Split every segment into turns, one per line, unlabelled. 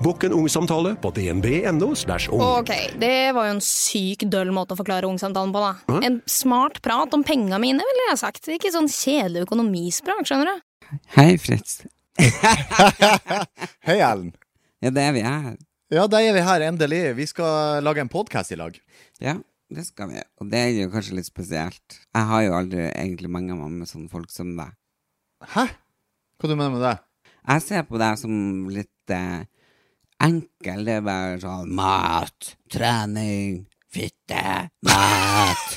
Bokk en ungsamtale på dnb.no. /ung.
Ok, det var jo en syk døll måte å forklare ungsamtalen på, da. En smart prat om penga mine, ville jeg ha sagt. Ikke sånn kjedelig økonomisprat, skjønner du.
Hei, Fritz.
Hei, Ellen.
Ja, det er vi her.
Ja, da er vi her endelig. Vi skal lage en podkast i lag.
Ja, det skal vi. Og det er jo kanskje litt spesielt. Jeg har jo aldri egentlig menga meg med sånne folk som deg.
Hæ? Hva du mener med det?
Jeg ser på deg som litt eh, enkel. Det er bare sånn mat, trening, fitte, mat.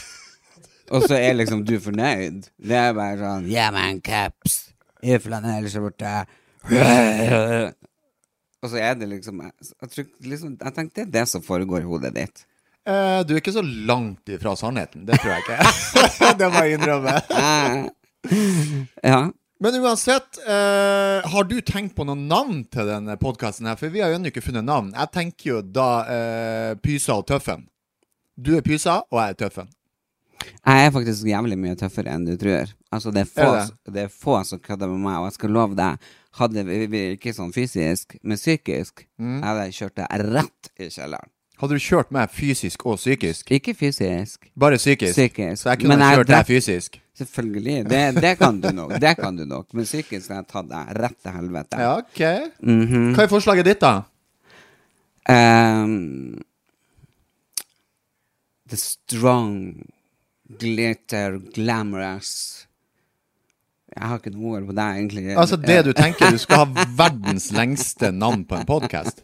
Og så er liksom du fornøyd. Det er bare sånn Gi meg en caps, i flanellskjorte. Og så er det liksom jeg, jeg, tror, liksom jeg tenkte det er det som foregår i hodet ditt.
Eh, du er ikke så langt ifra sannheten. Det tror jeg ikke. det må jeg innrømme.
Ja.
Men uansett, eh, har du tenkt på noen navn til denne podkasten her? For vi har jo ennå ikke funnet navn. Jeg tenker jo da eh, Pysa og Tøffen. Du er Pysa, og jeg er Tøffen.
Jeg er faktisk jævlig mye tøffere enn du tror. Altså, det er få,
Er det?
det er få som kødder med meg, og jeg skal love deg Hadde vi vi- ikke sånn fysisk, men psykisk,
Mm.
hadde jeg kjørt deg rett i kjelleren.
Hadde du kjørt meg fysisk og psykisk?
Ikke fysisk.
Bare psykisk.
Psykisk.
Så jeg kunne
Men jeg
kjørt deg
drept-
fysisk.
Selvfølgelig. Det, det kan du nok. Det kan du nok. Men psykisk har jeg tatt deg rett til helvete.
Ja, OK.
Mhm.
Hva er forslaget ditt, da?
Ehm, the strong, glitter, glamorous Jeg har ikke noe ord på deg, egentlig.
Altså det du tenker du skal ha verdens lengste navn på en podkast?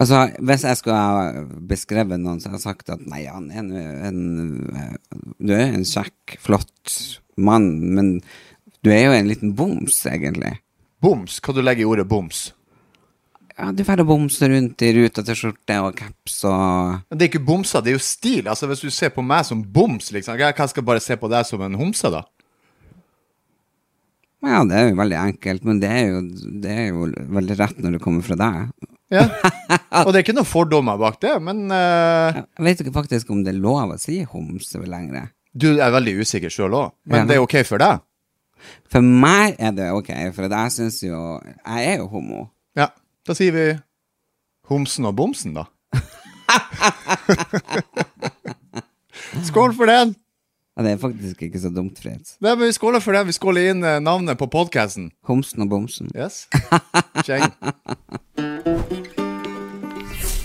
Altså, Hvis jeg skulle ha beskrevet noen, så hadde jeg sagt at nei, han er nå en, eh, Du er en kjekk, flott mann, men du er jo en liten boms, egentlig.
Boms. Hva du legger i ordet boms?
Ja, Du drar og bomser rundt i ruta til skjorte og caps og
Men Det er ikke bomser, det er jo stil. Altså Hvis du ser på meg som boms, liksom hva- hva skal jeg bare se på deg som en homse, da?
Ja, det er jo veldig enkelt, men det er jo, det er jo veldig rett når det kommer fra deg.
Ja. Og det er ikke noen fordommer bak det, men eh,
Jeg vet ikke faktisk om det er lov å si homse lenger.
du er veldig usikker sjøl òg.
Ja.
Men det er OK for deg?
For meg er det ok, for jeg syns jo Jeg er jo homo.
Ja. Da sier vi homsen og bomsen, da. Skål for den!
Ja, det er faktisk ikke så dumt, Fritz.
Nei, men vi skåler for den. Vi skåler inn eh, navnet på podkasten.
Homsen og bomsen.
Yes. Kjeng.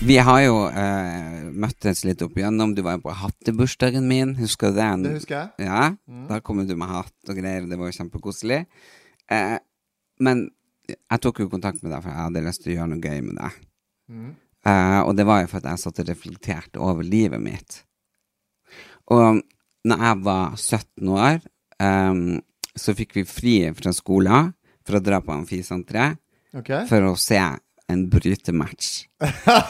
Vi har jo eh, møttes litt opp igjennom. Du var jo på hattebursdagen min, husker du den?
Det husker jeg. Mm.
Ja, Da kom jo du med hatt og greier, det var jo kjempekoselig. Eh, men jeg tok jo kontakt med deg, for jeg hadde lyst til å gjøre noe gøy med deg.
Mm.
Eh, og det var jo for at jeg satt og reflekterte over livet mitt. Og når jeg var 17 år, eh, så fikk vi fri fra skolen for å dra på amfisenteret
Ok.
for å se en brytematch.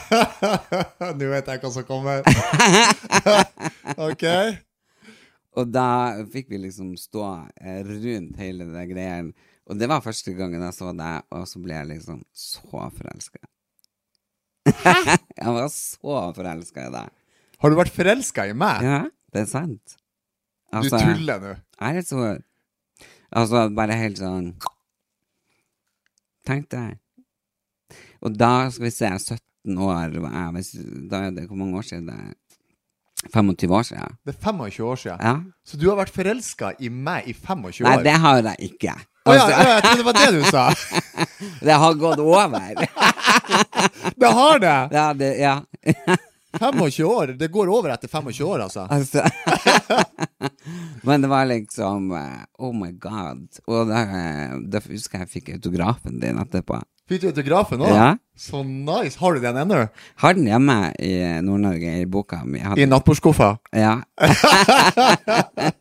Nå vet jeg hva som kommer. ok.
Og da fikk vi liksom stå eh, rundt hele den greien. Og det var første gangen jeg så deg, og så ble jeg liksom så forelska. jeg var så forelska i deg.
Har du vært forelska i meg?
Ja, det er sant.
Du
Altså,
tuller nå.
Jeg er litt så Altså, bare helt sånn Tenk deg. Og da, skal vi se, 17 år var jeg hvis, Da er det hvor mange år siden? Det er 25 år siden?
Det er 25 år siden.
Ja.
Så du har vært forelska i meg i 25 år?
Nei, det altså- har jeg ikke.
Å ja, ja, jeg trodde det var det du sa.
Det har gått over.
Det har det!
Ja, det, ja.
25 år! Det går over etter 25 år, altså.
Altså Men det var liksom eh, Oh my god. Og da, eh, da husker jeg jeg fikk autografen din etterpå.
Fikk du autografen òg?
Ja.
Så nice! Har du den ennå?
Har den hjemme i Nord-Norge, i boka mi. Jeg
I
hadde-
nattbordskuffa?
Ja.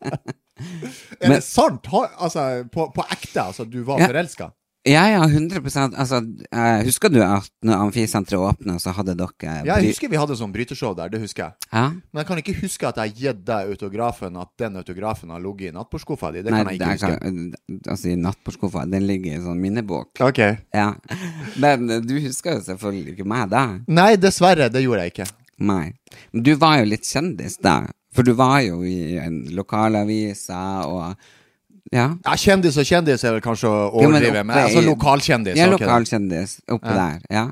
Er
Men-
det sant? Har, altså, på, på ekte, altså? Du var
Ja.
forelska?
ja, ja, 100 Altså, eh, husker du at når Amfisenteret åpna, så hadde dere
Ja,
bry-
jeg husker vi hadde sånn bryteshow der, det husker jeg.
ja?
Men jeg kan ikke huske at jeg har gitt deg autografen, at den autografen har ligget i nattbordskuffa di. Det
Nei,
kan jeg
det
ikke
er
huske.
ikke- altså, i nattbordskuffa. Den ligger i sånn minnebok.
Ok.
Ja. Men eh, du husker jo selvfølgelig ikke meg da.
Nei, dessverre, det gjorde jeg ikke.
Nei. Men du var jo litt kjendis da. For du var jo i en lokalavisa og Ja.
Ja, Kjendis og kjendis er vel kanskje å
Ja, men
overdrive, men
oppe
altså
i-
lokalkjendis.
Ja,
ok, da.
lokalkjendis oppe der. Ja.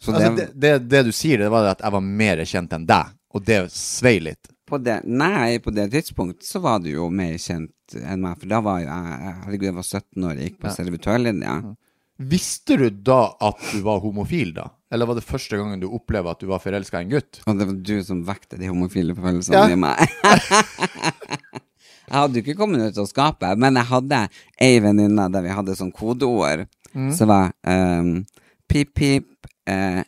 Så
Altså,
det,
det, det, det du sier, det var at jeg var mer kjent enn deg, og det svei litt.
på det Nei, på det tidspunktet så var du jo mer kjent enn meg, for da var jo jeg Herregud, jeg var 17 år og gikk på
Mm.
servitørlinja.
Visste du da at du var homofil, da? Eller var det første gangen du opplevde at du var forelska i en gutt?
Og det var du som vekte de homofile følelsene
Ja.
i meg. jeg hadde jo ikke kommet ut av skapet, men jeg hadde ei venninne der vi hadde sånn kodeord
Mm.
som var ehm, pip, pip eh,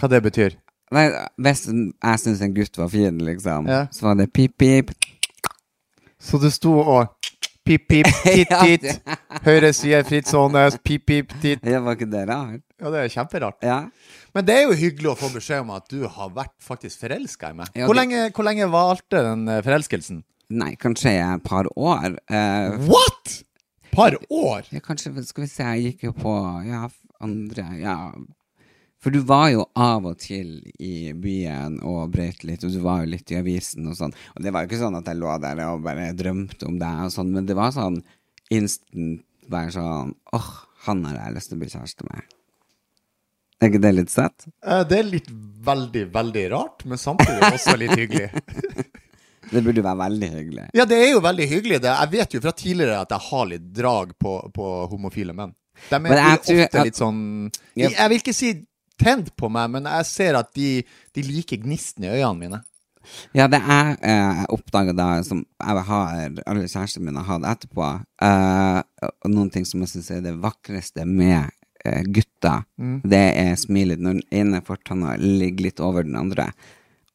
Hva det betyr?
Nei, hvis jeg syntes en gutt var fin, liksom,
Ja.
så var det pip-pip.
Så du sto og pip, pip, titt,
Ja,
titt.
det-
Høyre side, Fritz Aanes, pip, pip, titt.
Det var ikke det rart?
Ja, det er kjemperart.
Ja.
Men det er jo hyggelig å få beskjed om at du har vært faktisk forelska i meg.
Ja,
Hvor
det-
lenge, hvor lenge varte den eh, forelskelsen?
Nei, kanskje jeg er et par år. Eh,
What?! Par år?
ja, kanskje, skal vi se, jeg gikk jo på ja, andre ja. For du var jo av og til i byen og brøyt litt, og du var jo litt i avisen og sånn. Og det var jo ikke sånn at jeg lå der og bare drømte om deg og sånn, men det var sånn instant bare sånn åh, han har jeg lyst til å bli kjæreste med. Er ikke det litt søtt?
Eh, Det er litt veldig, veldig rart, men samtidig også litt hyggelig.
Det burde være veldig hyggelig.
Ja, det er jo veldig hyggelig. Det. Jeg vet jo fra tidligere at jeg har litt drag på, på homofile menn. De er
Men jeg
ofte
tror at-
litt sånn
Ja.
Jeg vil ikke si tent på meg, men jeg ser at de, de liker gnisten i øynene mine.
Ja, det jeg eh, oppdaga da, som jeg har alle kjærestene mine har hatt etterpå, eh, og noen ting som jeg syns er det vakreste med eh, gutter, det er smilet når den ene fortanna ligger litt over den andre.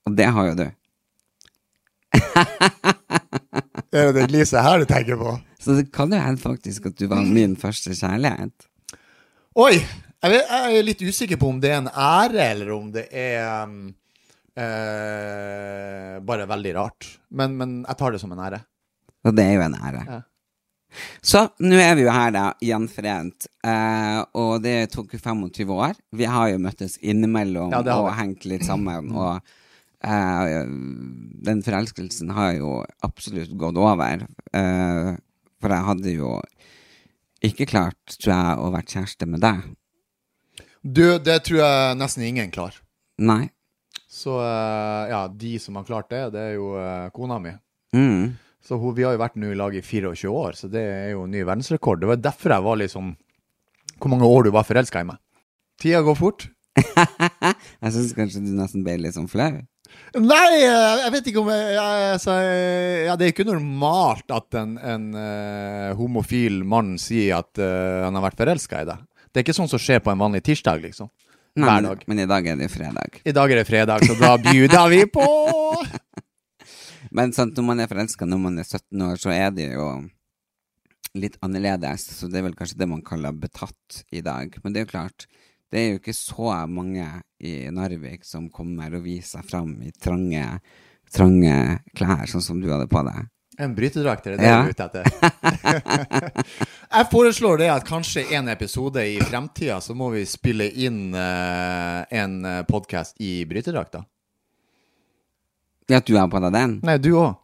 Og det har jo du.
Er det den Lise her du tenker på?
Så det kan jo hende faktisk at du var min første kjærlighet.
Oi! Jeg, vet, jeg er litt usikker på om det er en ære, eller om det er um, eh, bare veldig rart. Men, men jeg tar det som en ære.
Og det er jo en ære.
Ja.
Så nå er vi jo her, da, gjenforent. Eh, og det tok jo 25 år. Vi har jo møttes innimellom
Ja, det har
og
vi. Mm.
hengt litt sammen. Og eh, den forelskelsen har jo absolutt gått over. Eh, for jeg hadde jo ikke klart, tror jeg, å være kjæreste med deg.
Du, det tror jeg nesten ingen klarer.
Nei.
Så eh, ja, de som har klart det, det er jo eh, kona mi.
Mm.
Så hun, vi har jo vært nå i lag i 24 år, så det er jo ny verdensrekord. Det var derfor jeg var litt sånn Hvor mange år du var forelska i meg? Tida går fort.
Jeg syns kanskje du nesten ble litt sånn flau.
Nei, eh, jeg vet ikke om jeg, jeg, altså, eh, ja, Det er ikke normalt at en, en eh, homofil mann sier at eh, han har vært forelska i deg. Det er ikke sånn som skjer på en vanlig tirsdag, liksom.
Nei,
Hver
men-
dag.
Men i dag er det jo fredag.
I dag er det fredag, så da bjuder vi på!
Men sant, når man er forelska når man er 17 år, så er det jo litt annerledes. Så det er vel kanskje det man kaller betatt i dag. Men det er jo klart, det er jo ikke så mange i Narvik som kommer og viser seg fram i trange, trange klær, sånn som du hadde på deg.
En brytedrakt er det
Ja.
du er ute etter? jeg foreslår det at kanskje en episode i fremtida så må vi spille inn eh, en podkast i brytedrakt, da.
Ja, at du har på deg den?
Nei, du òg.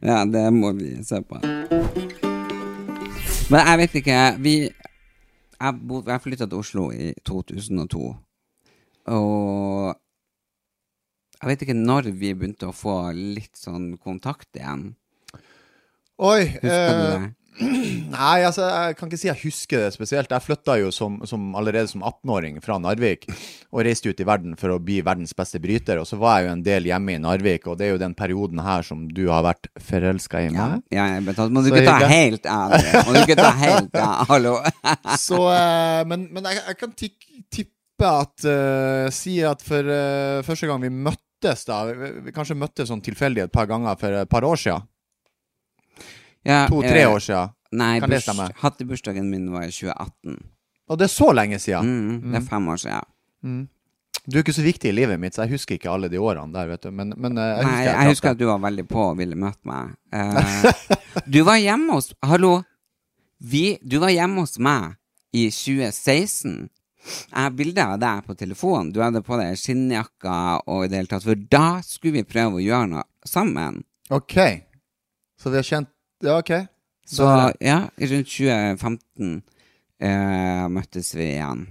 Ja, det må vi se på. Men jeg vet ikke Vi Jeg, bo- jeg flytta til Oslo i 2002. Og jeg vet ikke når vi begynte å få litt sånn kontakt igjen.
Oi.
Husker du
eh,
det?
Nei, altså, jeg kan ikke si jeg husker det spesielt. Jeg flytta jo som, som, allerede som 18-åring fra Narvik og reiste ut i verden for å bli verdens beste bryter. Og så var jeg jo en del hjemme i Narvik, og det er jo den perioden her som du har vært forelska
Ja,
i meg.
ja, jeg betalte. Må du
Så
ikke ta
hyggelig.
helt av det? Må du ikke ta helt av? Hallo?
Så, eh, men, men jeg, jeg kan tik tippe at eh, Si at for eh, første gang vi møttes, da Vi, vi kanskje møttes sånn tilfeldig et par ganger for et par år siden.
Ja,
To-tre
eh,
år siden.
Nei,
Kan det
burs-
stemme?
hattebursdagen min var i 2018.
Og det er så lenge siden.
Mm, det er fem år siden.
Du er ikke så viktig i livet mitt, så jeg husker ikke alle de årene der, vet du. Men, men eh, jeg
Nei,
husker,
jeg husker at du var veldig på og ville møte meg. Eh, du var hjemme hos Hallo! Vi, du var hjemme hos meg i 2016. Jeg har bilde av deg på telefonen. Du hadde på deg skinnjakka og i det hele tatt. For da skulle vi prøve å gjøre noe sammen.
OK. Så vi har kjent Ja, OK.
Så
Da-
ja, rundt 2015 eh, møttes vi igjen.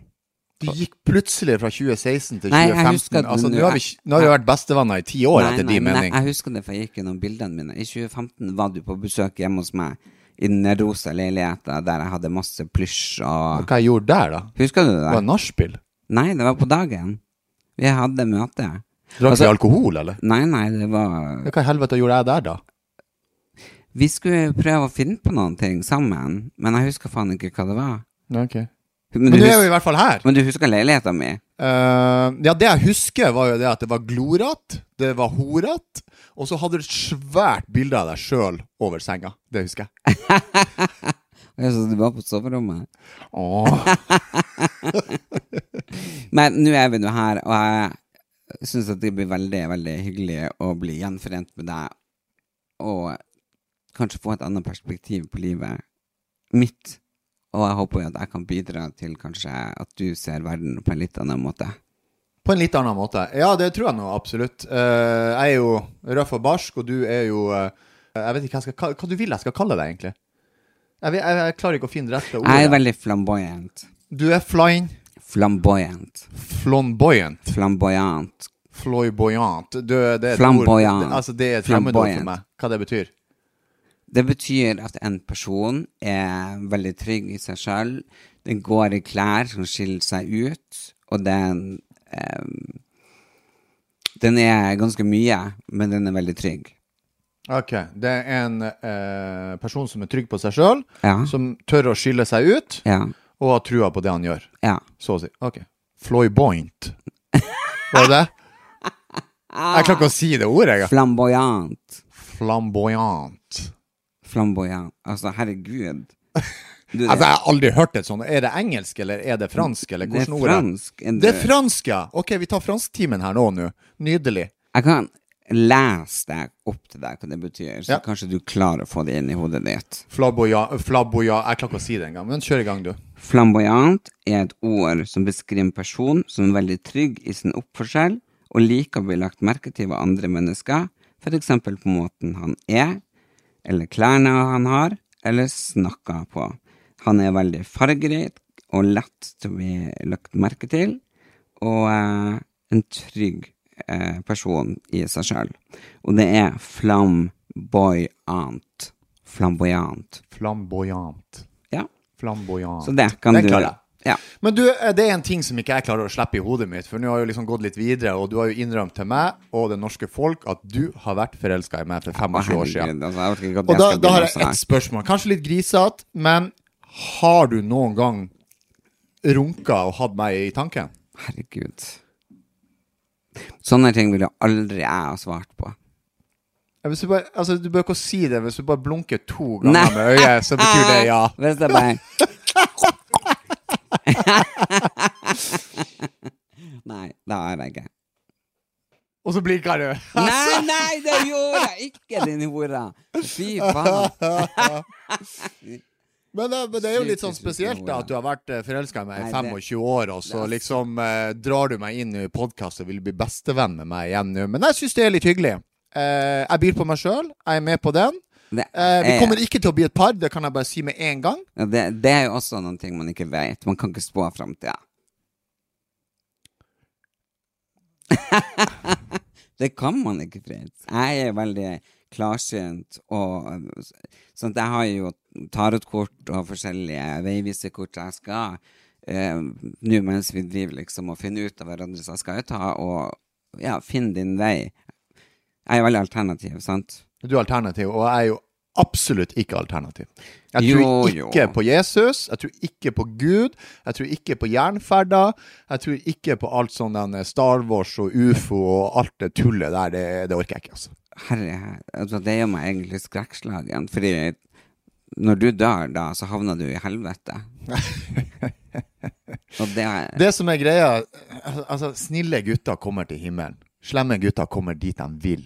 Du gikk plutselig fra 2016 til
Nei, jeg
2015.
husker at
altså,
nå-
nå har vi, ikke- nå har vi vært bestevenner i ti år, etter din
men
mening.
Jeg, jeg husker det, for jeg gikk gjennom bildene mine. I 2015 var du på besøk hjemme hos meg i den rosa leiligheta der jeg hadde masse plysj og
Hva jeg gjorde der, da?
Husker du
Det var
det?
nachspiel.
Nei, det var på dagen. Vi hadde møte.
Drakk vi
Altså-
alkohol, eller?
Nei, nei, det var
Ja, Hva i helvete gjorde jeg der, da?
Vi skulle prøve å finne på noen ting sammen, men jeg husker faen ikke hva det var. Men
Men
du,
nå er vi i
hus
hvert fall her.
men du husker leiligheta mi?
Eh, ja, det jeg husker, var jo det at det var gloratt, det var horatt, og så hadde du et svært bilde av deg sjøl over senga. Det husker jeg.
Jeg synes du var på soverommet.
Åh.
Men nå er vi nå her, og jeg syns at det blir veldig, veldig hyggelig å bli gjenforent med deg. Og kanskje få et annet perspektiv på livet mitt. Og jeg håper jo at jeg kan bidra til kanskje at du ser verden på en litt annen måte.
På en litt annen måte. Ja, det tror jeg nå absolutt. Eh, jeg er jo røff og barsk, og du er jo eh, Jeg vet ikke hva, jeg skal, hva, hva du vil jeg skal kalle deg, egentlig. Jeg, vet- jeg, jeg klarer ikke å finne det rette ordet.
Jeg er veldig flamboyant.
Du er flying
Flamboyant.
flamboyant.
Flamboyant.
Flamboyant. Du, det er et
Flamboyant.
ord- det- Altså, det er et fremmedord
Flamboyant.
for meg. Hva det betyr.
Det betyr at en person er veldig trygg i seg sjøl. Den går i klær som skiller seg ut, og den ehm, Den er ganske mye, men den er veldig trygg.
Ok, Det er en eh, person som er trygg på seg sjøl,
Ja.
som tør å skille seg ut,
Ja.
og har trua på det han gjør.
ja.
Så å si. Ok. Floyboint. Var det det? Jeg klarer ikke å si det ordet, jeg.
Flamboyant.
Flamboyant.
Flamboyant. Altså, herregud. Du,
Altså, jeg har aldri hørt et sånt. Er det engelsk, eller er det fransk, eller
det er
hvordan ord er det?
fransk.
Det er fransk, ja! Ok, vi tar fransktimen her nå, nå. Nydelig.
Jeg kan lese deg opp til deg hva det betyr, så
Ja.
kanskje du klarer å få det inn i hodet ditt.
Flamboyant Flamboyant Jeg klarer ikke å si det engang, men kjør i gang, du.
Flamboyant er et ord som beskriver en person som er veldig trygg i sin oppførsel og liker å bli lagt merke til av andre mennesker, f.eks. på måten han er, eller klærne han har, eller snakker på. Han er veldig fargerik og lett til å bli lagt merke til, og eh, en trygg eh, person i seg sjøl. Og det er flamboyant. Flamboyant.
Flamboyant.
Ja.
Flamboyant.
Så det kan
Den
du
klarer jeg.
Ja.
Men du, eh, det er en ting som ikke jeg klarer å slippe i hodet mitt, for nå har jeg jo liksom gått litt videre, og du har jo innrømt til meg og det norske folk at du har vært forelska i meg for 25 år siden.
Herregud, altså, jeg vet ikke
Og
hva
da,
skal altså.
da har
begynne å
jeg
snakke.
ett spørsmål, kanskje litt grisete, men har du noen gang runka og hatt meg i tanken?
Herregud. Sånne ting ville aldri jeg ha svart på.
Ja, Hvis du, bare, altså, du bør ikke å si det, hvis du bare blunker to ganger
Nei.
med øyet, så betyr det ja.
Hvis jeg bare Nei, det har jeg ikke.
Og så blinker du.
Nei, nei, det gjorde jeg ikke, din hore! Fy faen.
Men, det- men det er jo litt sånn
Sykt, sykt
spesielt da,
ord,
at du har vært forelska i meg i
Nei, det-
25 år, og så liksom eh, drar du meg inn i podkast og vil bli bestevenn med meg igjen nå. Men jeg syns det er litt hyggelig. Eh, jeg byr på meg sjøl, jeg er med på den.
Det,
Eh, vi
er-
kommer ikke til å bli et par, det kan jeg bare si med en gang.
Ja, det, det er jo også noen ting man ikke vet. Man kan ikke spå framtida. det kan man ikke, Fritz. Jeg er veldig klarsynt. Og, eh, sånn at jeg har jo tarotkort og forskjellige veivisekort så jeg skal eh, Nå mens vi driver liksom og finner ut av hverandre, så jeg skal jo ta og ja, finn din vei. Jeg er jo veldig alternativ, sant?
Du er alternativ, og jeg er jo absolutt ikke alternativ. Jeg
Jo,
tror
jo.
ikke på Jesus, jeg tror ikke på Gud, jeg tror ikke på jernferder, jeg tror ikke på alt sånn den Star Wars og UFO og alt det tullet der, det, det orker jeg ikke, altså.
Herre, her- altså, det gjør meg egentlig skrekkslagen, fordi når du dør da, så havner du i helvete. og det er
Det som er greia, al- altså snille gutter kommer til himmelen. Slemme gutter kommer dit de vil.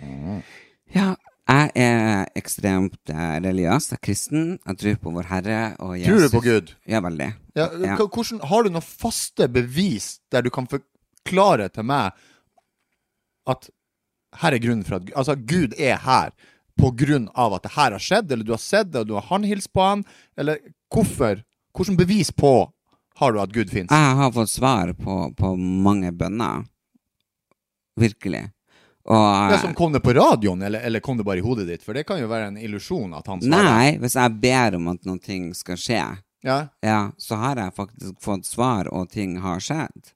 Ja, jeg er ekstremt eh, religiøs, jeg er kristen. Jeg tror på Vår Herre og Jesus.
Tror du på Gud?
Ja, veldig.
Ja, hva- Hvordan, har du noen faste bevis der du kan forklare til meg at her er grunnen for at Gu- Altså, Gud er her på grunn av at det her har skjedd, eller du har sett det, og du har han hilst på han, eller hvorfor? Hvilken bevis på har du at Gud finnes?
Jeg har fått svar på, på mange bønner. Virkelig. Og
Det som kom det på radioen, eller, eller kom det bare i hodet ditt? For det kan jo være en illusjon at han svarer.
Nei, hvis jeg ber om at noen ting skal skje,
Ja.
ja, så har jeg faktisk fått svar, og ting har skjedd.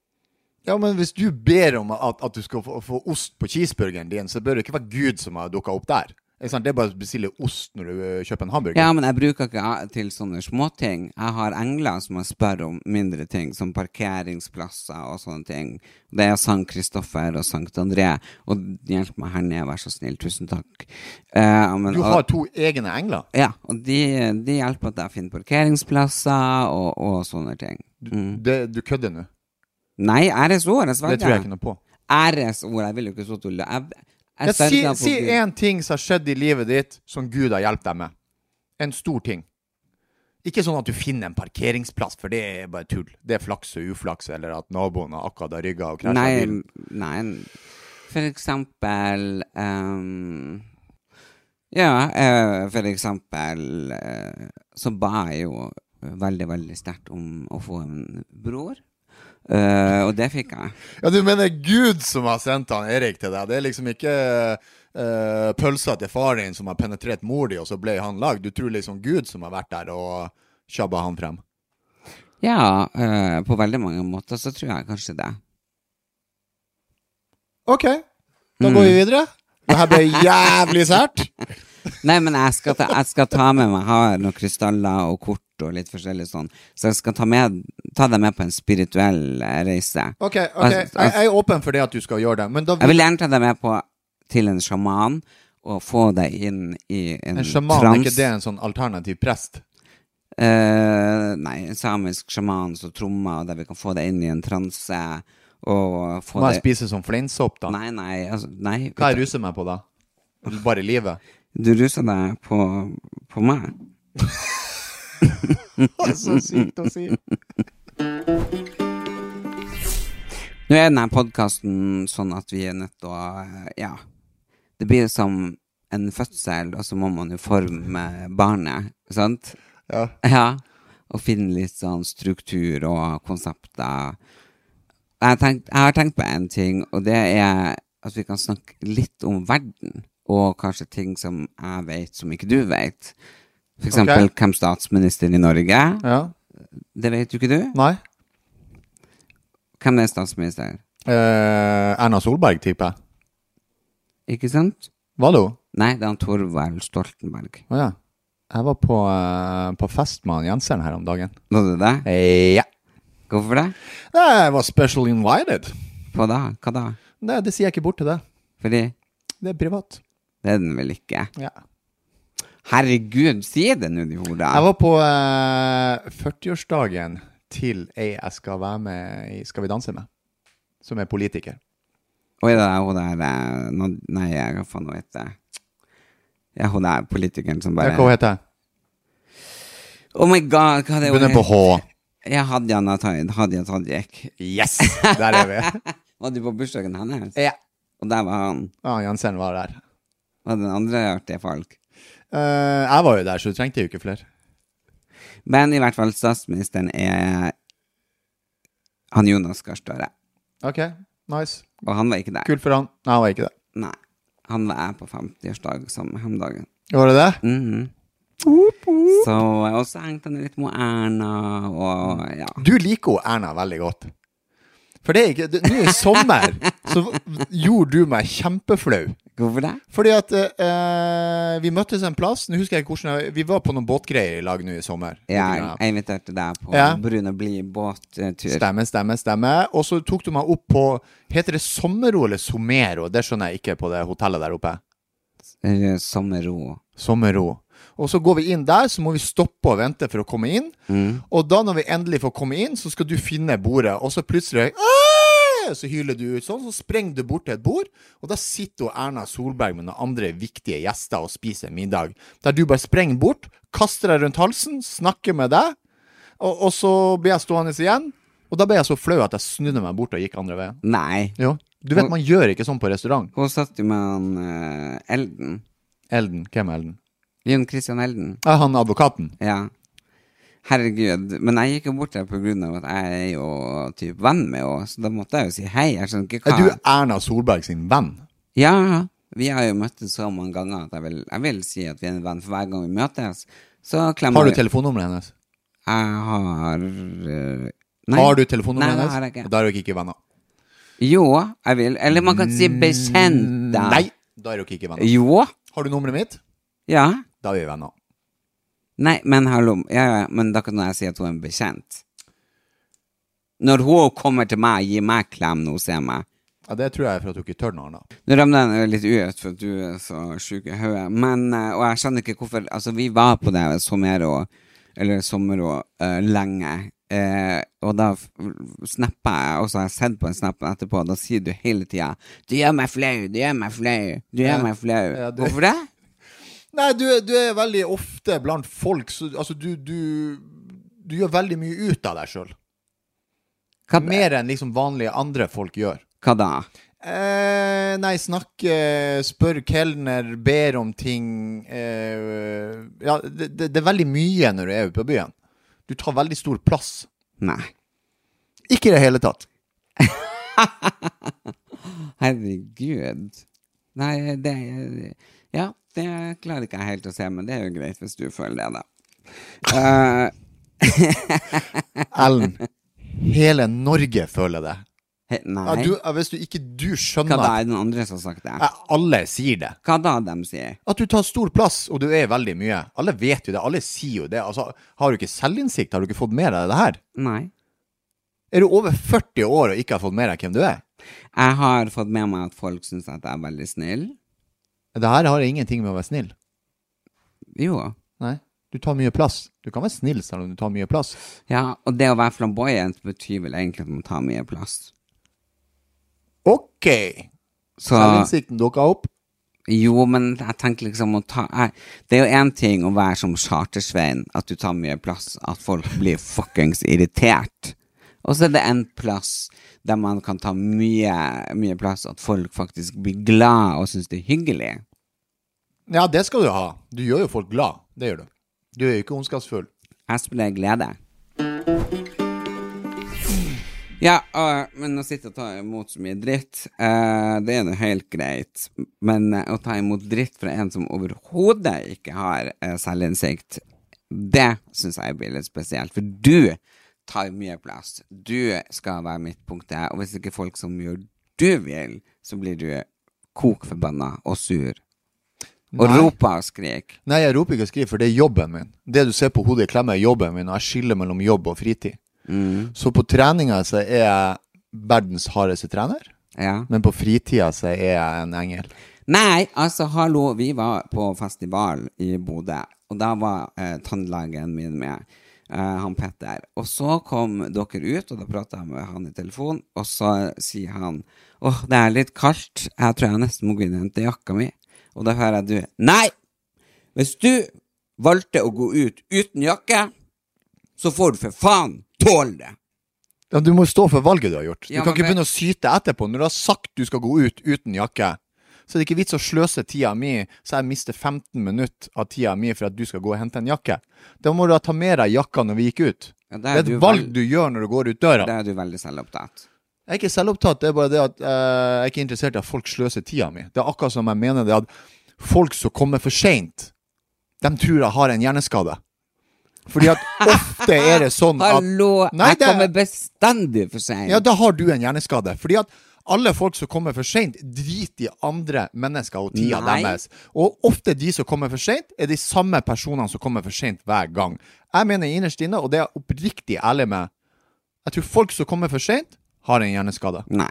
ja, men hvis du ber om at, at du skal få, få ost på cheeseburgeren din, så bør det ikke være Gud som har dukka opp der. Ikke sant? Det er bare å bestille ost når du eh, kjøper en hamburger.
Ja, men jeg bruker ikke a- til sånne småting. Jeg har engler som jeg spør om mindre ting, som parkeringsplasser og sånne ting. Det er Sankt Kristoffer og Sankt André. Og hjelp meg her ned, vær så snill. Tusen takk. Eh, men,
Du har to egne engler.
Ja, og de, de hjelper at jeg finner parkeringsplasser og, og sånne ting. Mm.
Det, du kødder nå.
Nei, æresord, jeg
Det
sverger.
tror jeg ikke noe på.
Æresord, jeg vil jo ikke så tulle. Jeg, jeg
Ja, si
sverger på
si
Gud.
en ting som har skjedd i livet ditt som Gud har hjulpet deg med. En stor ting. Ikke sånn at du finner en parkeringsplass, for det er bare tull. Det er flaks og uflaks, eller at naboen har akkurat rygga og krasja
Nei,
bilen.
nei For eksempel ehm, Ja, eh, for eksempel eh, så ba jeg jo veldig, veldig sterkt om å få en bror. Eh, og det fikk jeg.
Ja, du mener Gud som har sendt han Erik til deg? Det er liksom ikke eh, pølsa til faren din som har penetrert mor di, og så ble han lagd? Du tror liksom Gud som har vært der og tjabba han frem?
Ja, eh, på veldig mange måter så tror jeg kanskje det.
OK,
Mm.
da går vi videre. Det her ble jævlig sært.
Nei, men jeg skal ta, jeg skal ta med meg jeg har noen krystaller og kort og litt forskjellig sånn. Så jeg skal ta, med, ta deg med på en spirituell eh, reise.
Ok, ok, jeg,
Altså,
jeg er åpen for det at du skal gjøre det, men da
Jeg vil gjerne ta deg med på til en sjaman og få deg inn i en,
En sjaman, er
trans.
ikke det en sånn alternativ prest?
Eh, nei, en samisk sjaman som trommer, og der vi kan få deg inn i en transe. Og få
Må
deg
jeg spise sånn fleinsopp, da?
Nei, nei, altså, nei.
Hva
vet
jeg ruser meg på, da? Bare livet?
du- Du ruser deg på, på meg.
Så sykt å si.
Nå er denne podkasten sånn at vi er nødt til å eh, Ja. Det blir som en fødsel, og så må man jo forme barnet, sant?
Ja.
Ja, og finne litt sånn struktur og konsepter. Jeg, har tenkt- jeg har tenkt på en ting, og det er at vi kan snakke litt om verden. Og kanskje ting som jeg vet som ikke du vet. For eksempel hvem statsminister i Norge?
ja.
Det vet jo ikke du.
Nei.
Hvem er statsminister?
Eh, Erna Solberg, tipper jeg.
Ikke sant?
Var det hun?
Nei, det er han Torvald Stoltenberg.
Å ja. Jeg var på, eh, på fest med han Jensen her om dagen.
Var det det?
Ja.
Hvorfor det?
Jeg var special invited.
Hva da? Hva da?
Nei, det sier jeg ikke bort til deg.
Fordi
Det er privat.
det er den vel ikke.
Ja.
Herregud, si det nå, de hora.
Jeg var på eh, 40-årsdagen til ei jeg skal være med i Skal vi danse med, som er politiker.
Oi, det er hun der eh, nå- Nei, hva faen hun heter Ja, hun der politikeren som
Ja,
bare
hva heter jeg?
Oh my god, hva er det
Begynner på H.
Ja, Hadia Nataid. Hadia Tajik.
Yes! Der er vi.
Var du på bursdagen hennes?
Ja.
Og der var han.
Ah, Jensen var der.
Og den andre artige folk.
Eh, jeg var jo der, så du trengte jo ikke flere.
Men i hvert fall, statsministeren er han Jonas Gahr Støre.
Ok, nice.
Og han var ikke der.
Kult for han. Nei, han var ikke det.
Nei. han var jeg på 50-årsdag samme hemdagen.
Var det det?
Mhm. Så, og så hengte han litt med Erna, og ja.
Du liker jo Erna veldig godt. For det er ikke det- Nå i sommer så gjorde du meg kjempeflau.
Hvorfor det?
Fordi at eh, vi møttes en plass Nå husker jeg ikke hvordan jeg, Vi var på noen båtgreier i lag nå i sommer.
Jeg, jeg inviterte deg på
Ja.
Brune Bli-båttur.
Stemme, stemme, stemme. Og så tok du meg opp på Heter det Sommero eller Somero? Det skjønner jeg ikke på det hotellet der oppe.
Eh, Sommerro.
Sommero. Og så går vi inn der, så må vi stoppe og vente for å komme inn. Og da når vi endelig får komme inn, så skal du finne bordet, og så plutselig «Æ!» så hyler du ut sånn, så sprenger du bort til et bord, og da sitter jo Erna Solberg med noen andre viktige gjester og spiser middag. Der du bare sprenger bort, kaster deg rundt halsen, snakker med deg, og, og så blir jeg stående igjen. Og da ble jeg så flau at jeg snudde meg bort og gikk andre veien.
Nei.
Jo, du vet man gjør ikke sånn på restaurant.
Hun satt jo med han eh, Elden.
Elden, hvem er Elden?
Jon Christian Elden.
Ja, han advokaten.
Ja. Herregud. Men jeg gikk jo bort der på grunn av at jeg er jo typ venn med henne, så da måtte jeg jo si hei. Jeg skjønner ikke
Er
hva
du Erna Solberg sin venn?
Ja, vi har jo møttes så mange ganger at jeg vil, jeg vil si at vi er en venn, for hver gang vi møtes, så klemmer
Har du
vi-
telefonnummeret hennes?
Jeg har eh, nei.
Har du telefonnummeret
Nei, det
hennes?
har jeg ikke.
Da er dere ikke venner.
Jo, jeg vil. Eller man kan si bekjent, da.
Mm, Nei, da er dere ikke venner.
Jo.
Har du nummeret mitt?
Ja.
Da er vi venner.
Nei, men hallo. Ja, ja, men da kan jeg si at hun er en bekjent. Når hun kommer til meg og gir meg klem når hun ser meg
Ja, det tror jeg er for at du ikke tør noe annet.
Nå ramler jeg litt ut, for at du er så sjuk i hodet. Men, eh, Og jeg skjønner ikke hvorfor Altså, vi var på det sommero, eller sommero, eh, lenge. Eh, og da f- snappa jeg, og så har jeg sett på en snap etterpå, og da sier du hele tida 'Du gjør meg flau, du gjør meg flau, du gjør
Ja.
meg flau'.
Ja, du-
Hvorfor det?
Nei, du, er- du er veldig ofte blant folk, så altså du, du Du gjør veldig mye ut av deg sjøl.
Hva,
Mer enn liksom vanlige andre folk gjør.
hva da?
Eh, nei, snakke, spør kelner, ber om ting eh, Ja, det, det, det er veldig mye når du er ute på byen. Du tar veldig stor plass.
Nei.
Ikke i det hele tatt.
Herregud. Nei, det Ja, det klarer ikke jeg helt å se, men det er jo greit hvis du føler det, da. Eh,
Ellen, hele Norge føler det.
he-
Ja,
nei.
du, ja, hvis du ikke du
Hva
skjønner
da?
at
Er det noen andre som har sagt det?
ja, alle sier det.
Hva da de sier?
At du tar stor plass, og du er veldig mye. Alle vet jo det, alle sier jo det. Altså, har du ikke selvinnsikt? Har du ikke fått med deg det her?
Nei.
Er du over 40 år og ikke har fått med deg hvem du er?
Jeg har fått med meg at folk syns at jeg er veldig snill.
Det her har ingenting med å være snill.
Jo.
Nei. Du tar mye plass. Du kan være snill selv om du tar mye plass.
Ja, og det å være flamboyant betyr vel egentlig at man tar mye plass.
OK!
Så
Selvinnsikten dukka opp.
Jo, men jeg tenker liksom å ta jeg, Det er jo én ting å være som chartersvein, at du tar mye plass, at folk blir fuckings irritert. Og så er det en plass der man kan ta mye, mye plass, at folk faktisk blir glad og syns det er hyggelig.
Ja, det skal du ha. Du gjør jo folk glad. Det gjør du. Du er jo ikke ondskapsfull.
Her spiller jeg glede. Ja, og, men å sitte og ta imot så mye dritt, eh, det er nå helt greit. Men eh, å ta imot dritt fra en som overhodet ikke har eh, selvinnsikt, det syns jeg blir litt spesielt. For du tar mye plass. Du skal være midtpunktet. Og hvis ikke folk som gjør du vil, så blir du kokforbanna og sur. Og
Nei.
roper og skriker.
Nei, jeg roper ikke og skriver, for det er jobben min. Det du ser på hodet i klemme, er jobben min, og jeg skiller mellom jobb og fritid.
Mm.
Så på treninga så er jeg verdens hardeste trener,
Ja.
men på fritida så er jeg en engel.
Nei, altså hallo, vi var på festival i Bodø, og da var eh, tannlegen min med, eh, han Petter. Og så kom dere ut, og da prata jeg med han i telefon, og så sier han åh, det er litt kaldt, jeg tror jeg nesten må gå inn og hente jakka mi. Og da hører jeg du nei, hvis du valgte å gå ut uten jakke, så får du for faen tåle det.
Ja, du må jo stå for valget du har gjort. Du
Ja,
kan
men
ikke
det-
begynne å syte etterpå. Når du har sagt du skal gå ut uten jakke, så er det ikke vits å sløse tida mi så jeg mister 15 minutter av tida mi for at du skal gå og hente en jakke. Da må du da ta med deg jakka når vi gikk ut.
Ja, da
Det er
du
et
vel-
valg du gjør når du går ut døra.
Da er du veldig selvopptatt.
Jeg er ikke selvopptatt, det er bare det at eh, jeg er ikke interessert i at folk sløser tida mi. Det er akkurat som jeg mener det at folk som kommer for seint, de tror jeg har en hjerneskade. Fordi at ofte er det sånn at
Hallo,
Nei,
jeg
det-
kommer bestandig for seint.
Ja, da har du en hjerneskade. Fordi at alle folk som kommer for seint, driter i andre mennesker og tida
Nei.
deres. Og ofte de som kommer for seint, er de samme personene som kommer for seint hver gang. Jeg mener innerst inne, og det er jeg oppriktig ærlig med, jeg tror folk som kommer for seint, har en hjerneskade.
Nei.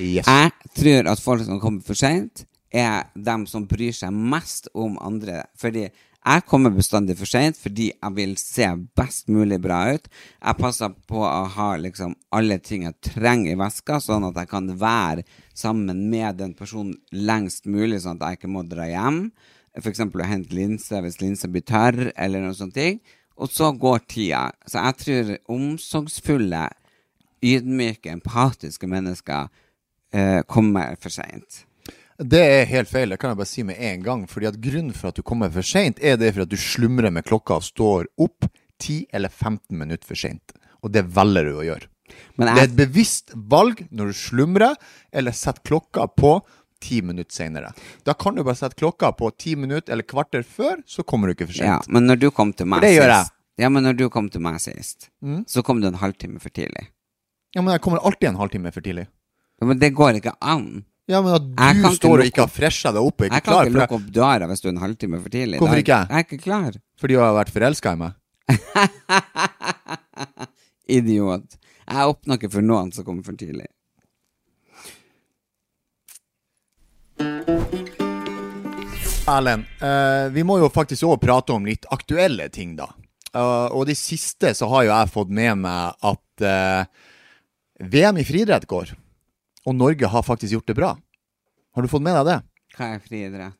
Yes.
Jeg tror at folk som kommer for seint, er dem som bryr seg mest om andre. Fordi jeg kommer bestandig for seint fordi jeg vil se best mulig bra ut. Jeg passer på å ha liksom alle ting jeg trenger i veska, sånn at jeg kan være sammen med den personen lengst mulig, sånn at jeg ikke må dra hjem. F.eks. å hente linse hvis linse blir tørr, eller noe sånt. ting. Og så går tida. Så jeg tror omsorgsfulle, ydmyke, empatiske mennesker eh, kommer for seint.
Det er helt feil, det kan jeg bare si med en gang. Fordi at Grunnen for at du kommer for seint, er det for at du slumrer med klokka og står opp 10 eller 15 minutter for seint. Og det velger du å gjøre.
Men
Det er
jeg,
et bevisst valg når du slumrer, eller setter klokka på ti minutter senere. Da kan du bare sette klokka på ti minutter eller kvarter før, så kommer du ikke for
ja,
sent.
men når du kom til meg
For det gjør jeg. Mm.
sist Ja, men når du kom til meg sist, så kom du en halvtime for tidlig.
Ja. men jeg kommer alltid en halvtime for tidlig.
Ja, men det går ikke an.
Ja, men at
Jeg
du
kan ikke
står og
lukke
ikke har fresha deg opp og ikke
Jeg
er
kan
klar,
ikke
for
lukke opp døra hvis du er en halvtime for tidlig.
Hvorfor
Da-
ikke?
Jeg er ikke klar.
fordi jeg har vært forelska i meg.
Idiot. Jeg åpner ikke for noen som kommer for tidlig.
Erlend, eh, vi må jo faktisk òg prate om litt aktuelle ting, da. Eh, og de siste så har jo jeg fått med meg at eh, VM i friidrett går. Og Norge har faktisk gjort det bra. Har du fått med deg det?
Hva er friidrett?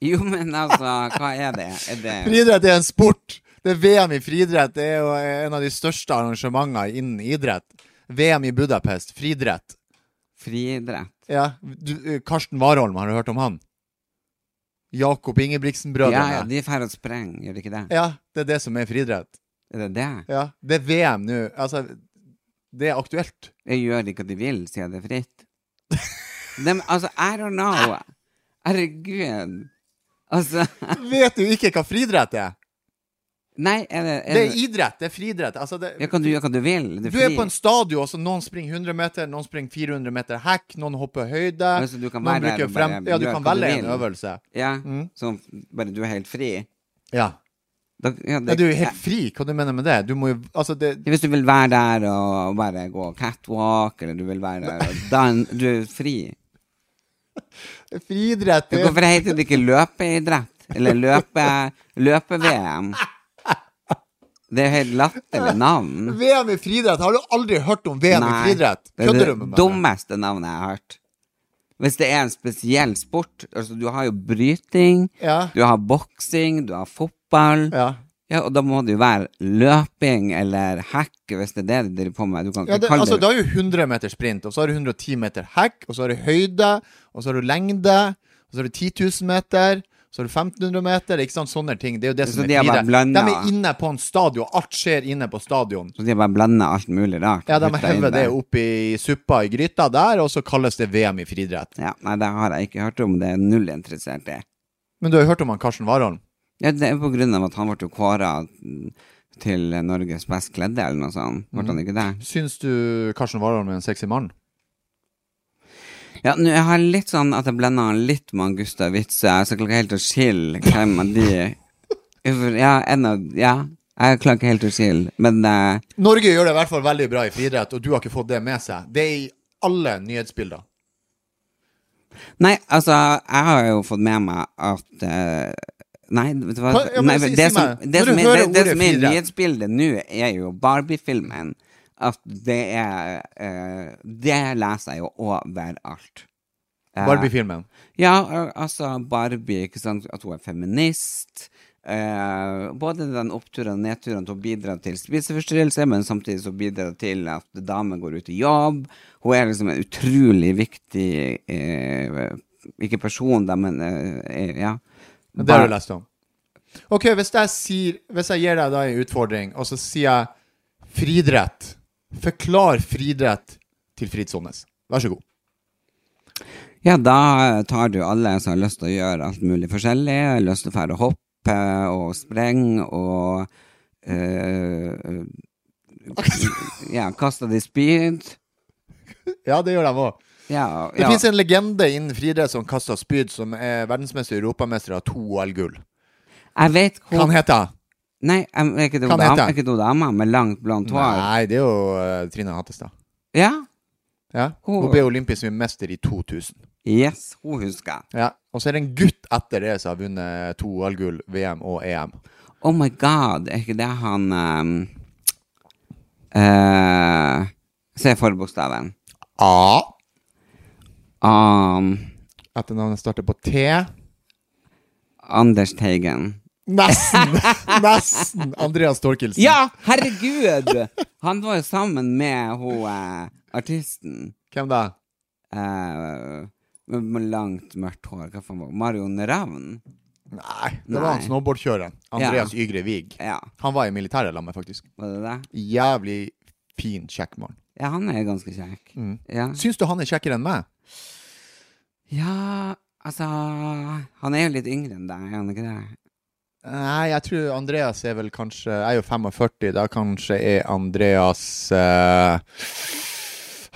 Jo, men altså, hva er det? Er det
Friidrett er en sport. Det er VM i friidrett det er jo en av de største arrangementene innen idrett. VM i Budapest, friidrett.
friidrett?
Ja. Du, eh, Karsten Warholm, har du hørt om han? Jakob
Ja, ja,
Ingebrigtsen-brødrene.
de drar og sprenger, gjør de ikke det?
Ja, det er det som er friidrett.
Er det det?
Ja, det er VM nå. Altså, det er aktuelt.
Jeg gjør ikke hva de vil, sier det er fritt. De, altså, I don't know. Herregud. Altså
Vet du ikke hva friidrett er?
Nei, er det, er
Det er
det
idrett, det er friidrett. Altså, det,
ja, Kan du gjøre hva du vil? Du er,
du
fri.
er på en stadion, altså noen springer 100 meter, noen springer 400 meter hekk, noen hopper høyde.
Altså, du kan
noen
være der
bruker
og
frem...
bare
Ja, du
gjøre
kan
hva du
velge en
vil.
øvelse.
Ja,
Mm.
så bare du er helt fri?
Ja.
Da, ja,
Ja,
det,
du er helt fri, hva du mener med det? Du må jo Altså, det
Ja, Hvis du vil være der og bare gå catwalk, eller du vil være der og dan... Du er fri.
Friidrett
Ja,
det-
Hvorfor heter det ikke løpeidrett? Eller løpe... løpe-VM? Det er jo helt latterlig navn.
VM i friidrett, har du aldri hørt om VM i friidrett?
det er det
Kødder du med meg?
dummeste navnet jeg har hørt. Hvis det er en spesiell sport altså Du har jo bryting,
Ja.
du har boksing, du har fotball. Ja.
Ja.
Og da må det jo være løping eller hekk, hvis det er det de driver på med. Du kan ikke
Ja, det,
kalle
altså,
det
da er jo 100 meter sprint, og så har du 110 meter hekk, og så har du høyde, og så har du lengde, og så har du 10 000 meter, så har du 1500 meter, ikke sant? Sånne ting. Det er jo det
Så
som
de
er
er bare
friidrett. De
blandet.
er inne på en stadion, alt skjer inne på stadion.
Så de bare blander alt mulig rart.
Ja, de
Putter inn
hever det
der.
opp i suppa i gryta der, og så kalles det VM i friidrett.
Ja, nei, det har jeg ikke hørt om. Det er null interessert i.
Men du har jo hørt om han Karsten Warholm?
Ja, det er på grunn av at han ble kåra til Norges best kledde, eller noe sånt. Ble
Mm.
han ikke det?
Syns du Karsten Warholm er en sexy mann?
Ja, nå jeg har litt sånn at jeg blander han litt med han Gustav Witzøe. Jeg klarer ikke helt å skille hvem av de Uff, Ja, en av Ja, jeg klarer ikke helt å skille, men eh,
Norge gjør det i hvert fall veldig bra i friidrett, og du har ikke fått det med seg. Det er i alle nyhetsbilder.
Nei, altså, jeg har jo fått med meg at eh, Nei, vet du hva
Hva- ja,
nei,
men si-
det,
si
som,
meg,
det, som er,
når du
det,
hører
det
ordet
som er i
friidrett.
nyhetsbildet nå, er jo Barbie-filmen. At det er eh, Det leser jeg jo overalt. Eh,
Barbie-filmen.
Ja, al- altså Barbie, ikke sant? at hun er feminist. Eh, både den oppturen og nedturen til å bidra til spiseforstyrrelse, men samtidig så bidrar det til at damer går ut i jobb. Hun er liksom en utrolig viktig eh, Ikke person, da, men eh, eh, ja.
Men Det har du lest om. Ok, hvis jeg, sier, hvis jeg gir deg da en utfordring, og så sier jeg friidrett Forklar friidrett til Frid Sonnes. Vær så god.
Ja, da tar du alle som har lyst til å gjøre alt mulig forskjellig, har lyst til å fære og hoppe og sprenge og eh, Ja, kaste de spyd.
Ja, det gjør de òg.
Ja,
Det
ja.
finnes en legende innen friidrett som kaster spyd, som er verdensmester og europamester av to OL-gull.
Jeg vet
Hva
hvor
han heter han?
Nei, jeg- er ikke det
Hva
hun dama-
heter han?
er ikke det hun dama med langt, blondt hår?
Nei, det er jo eh, Trine Hattestad.
Ja?
Ja.
Hun-
Hun ble olympisk mester i 2000.
Yes, hun husker jeg.
Ja. Og så er det en gutt etter det som har vunnet to OL-gull, VM og E EM.
Oh my god, er ikke det han um, eh, Se forbokstaven.
A.
Um,
Etternavnet starter på T.
Anders Teigen.
Nesten! Nesten! Andreas Torkelsen.
Ja, herregud! Han var jo sammen med hun eh, artisten
Hvem da?
eh, med, med langt, mørkt hår. Hva faen var Marion Ravn?
Nei, det
Nei.
var han snowboardkjøreren. Andreas Ygre Wiig.
Ja,
Han var i militæret sammen med meg, faktisk.
var det det?
Jævlig fin kjekkmann.
Ja, han er ganske kjekk.
Mm.
Ja.
Syns du han er kjekkere enn meg?
ja, altså Han er jo litt yngre enn deg, er han ikke det?
Nei, jeg tror Andreas er vel kanskje Jeg er jo 45, da kanskje er Andreas eh,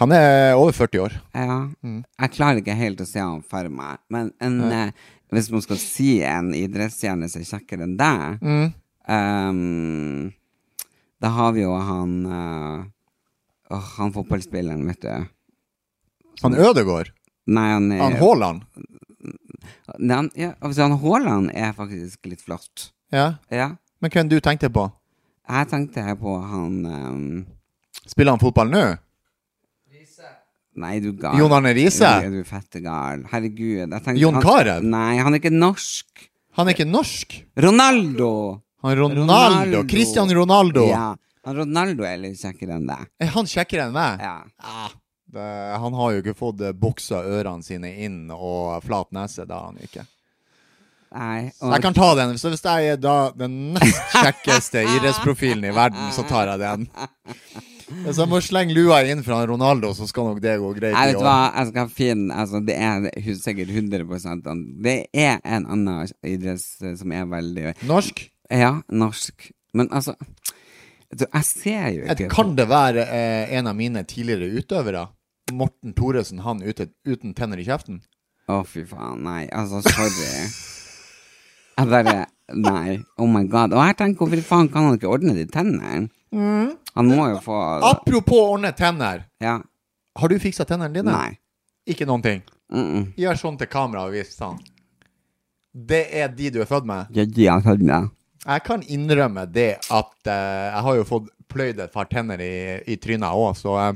Han er over 40 år.
Ja. Jeg klarer ikke helt å se han for meg. Men en, eh, hvis man skal si en idrettsstjerne som er kjekkere enn deg,
Mm.
ehm, da har vi jo han eh, åh, Han fotballspilleren, vet du.
Han
Mm.
Ødegård?
Nei, han er
Han Haaland?
Nei, han- ja, altså, han Haaland er faktisk litt flott.
Ja.
Ja.
Men hvem du tenkte på?
Jeg tenkte her på han ehm,
Spiller han fotball nå?
Nei, du er gal.
Jon Arne Riise?
Du, du er fette gal. Herregud. Jeg tenkte
Jon
han-
Carew?
Nei, han er ikke norsk.
Han er ikke norsk!
Ronaldo!
Han Ronaldo. Cristian Ronaldo.
Ja. Han Ronaldo er litt kjekkere enn deg.
Er han kjekkere enn meg?
Ja.
Ah, det, han har jo ikke fått eh, buksa ørene sine inn og flat nese. Det har han ikke.
Nei,
Så
og,
jeg kan ta den. Så hvis jeg er da den nest kjekkeste idrettsprofilen i verden, så tar jeg den. Hvis jeg må slenge lua inn fra Ronaldo, så skal nok det gå greit.
jeg
i
vet
år.
hva, jeg skal finne altså, Det er hu- sikkert 100 han- Det er en annen idretts eh, som er veldig
Norsk?
Ja, norsk. Men altså du, Jeg ser jo
Et,
ikke
kan det være eh, en av mine tidligere utøvere? Morten Thoresen, han ute, uten tenner i kjeften?
Å, fy faen. Nei, altså, sorry. Jeg bare Nei. Oh my god. Og jeg tenker, hvorfor faen kan han ikke ordne de tennene? Han må jo få
Apropos ordne tenner.
Ja.
Har du fiksa tennene dine?
Nei.
Ikke noen ting?
Mm -mm.
Gjør sånn til kamera og vis sånn. Det er de du er født med.
Jeg gir han følgende.
Jeg kan innrømme det at eh, jeg har jo fått pløyd et par tenner i, i trynet òg, så eh,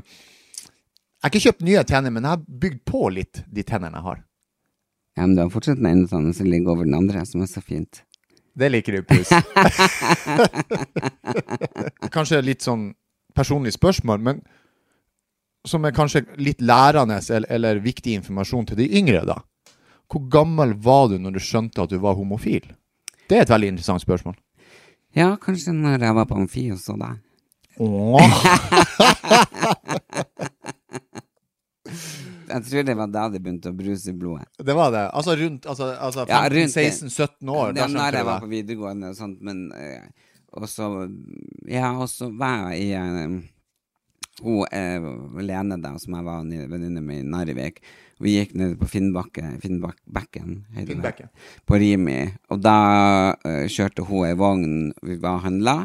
Jeg har ikke kjøpt nye tenner, men jeg har bygd på litt de tennene jeg har.
Ja, men du har fortsatt den ene tannen som ligger over den andre, som er så fint.
Det liker du, Pus. kanskje litt sånn personlig spørsmål, men som er kanskje litt lærende eller, eller viktig informasjon til de yngre, da. Hvor gammel var du når du skjønte at du var homofil? Det er et veldig interessant spørsmål.
Ja, kanskje når jeg var på amfi og så deg. Jeg tror det var da det begynte å bruse i blodet.
Det var det. Altså rundt, altså, altså
Ja, rundt
15-16-17 år.
det
Da
var når
skjønte
jeg
du
var på
det.
videregående og sånt, men eh, Og så Ja, og så var jeg i eh, Hun eh, Lene, da, som jeg var ni- venninne med i Narvik. Vi gikk ned på Finnbakke, Finnbakken, heter det.
Finnbakken.
på Rimi. Og da eh, kjørte hun ei vogn vi var og handla,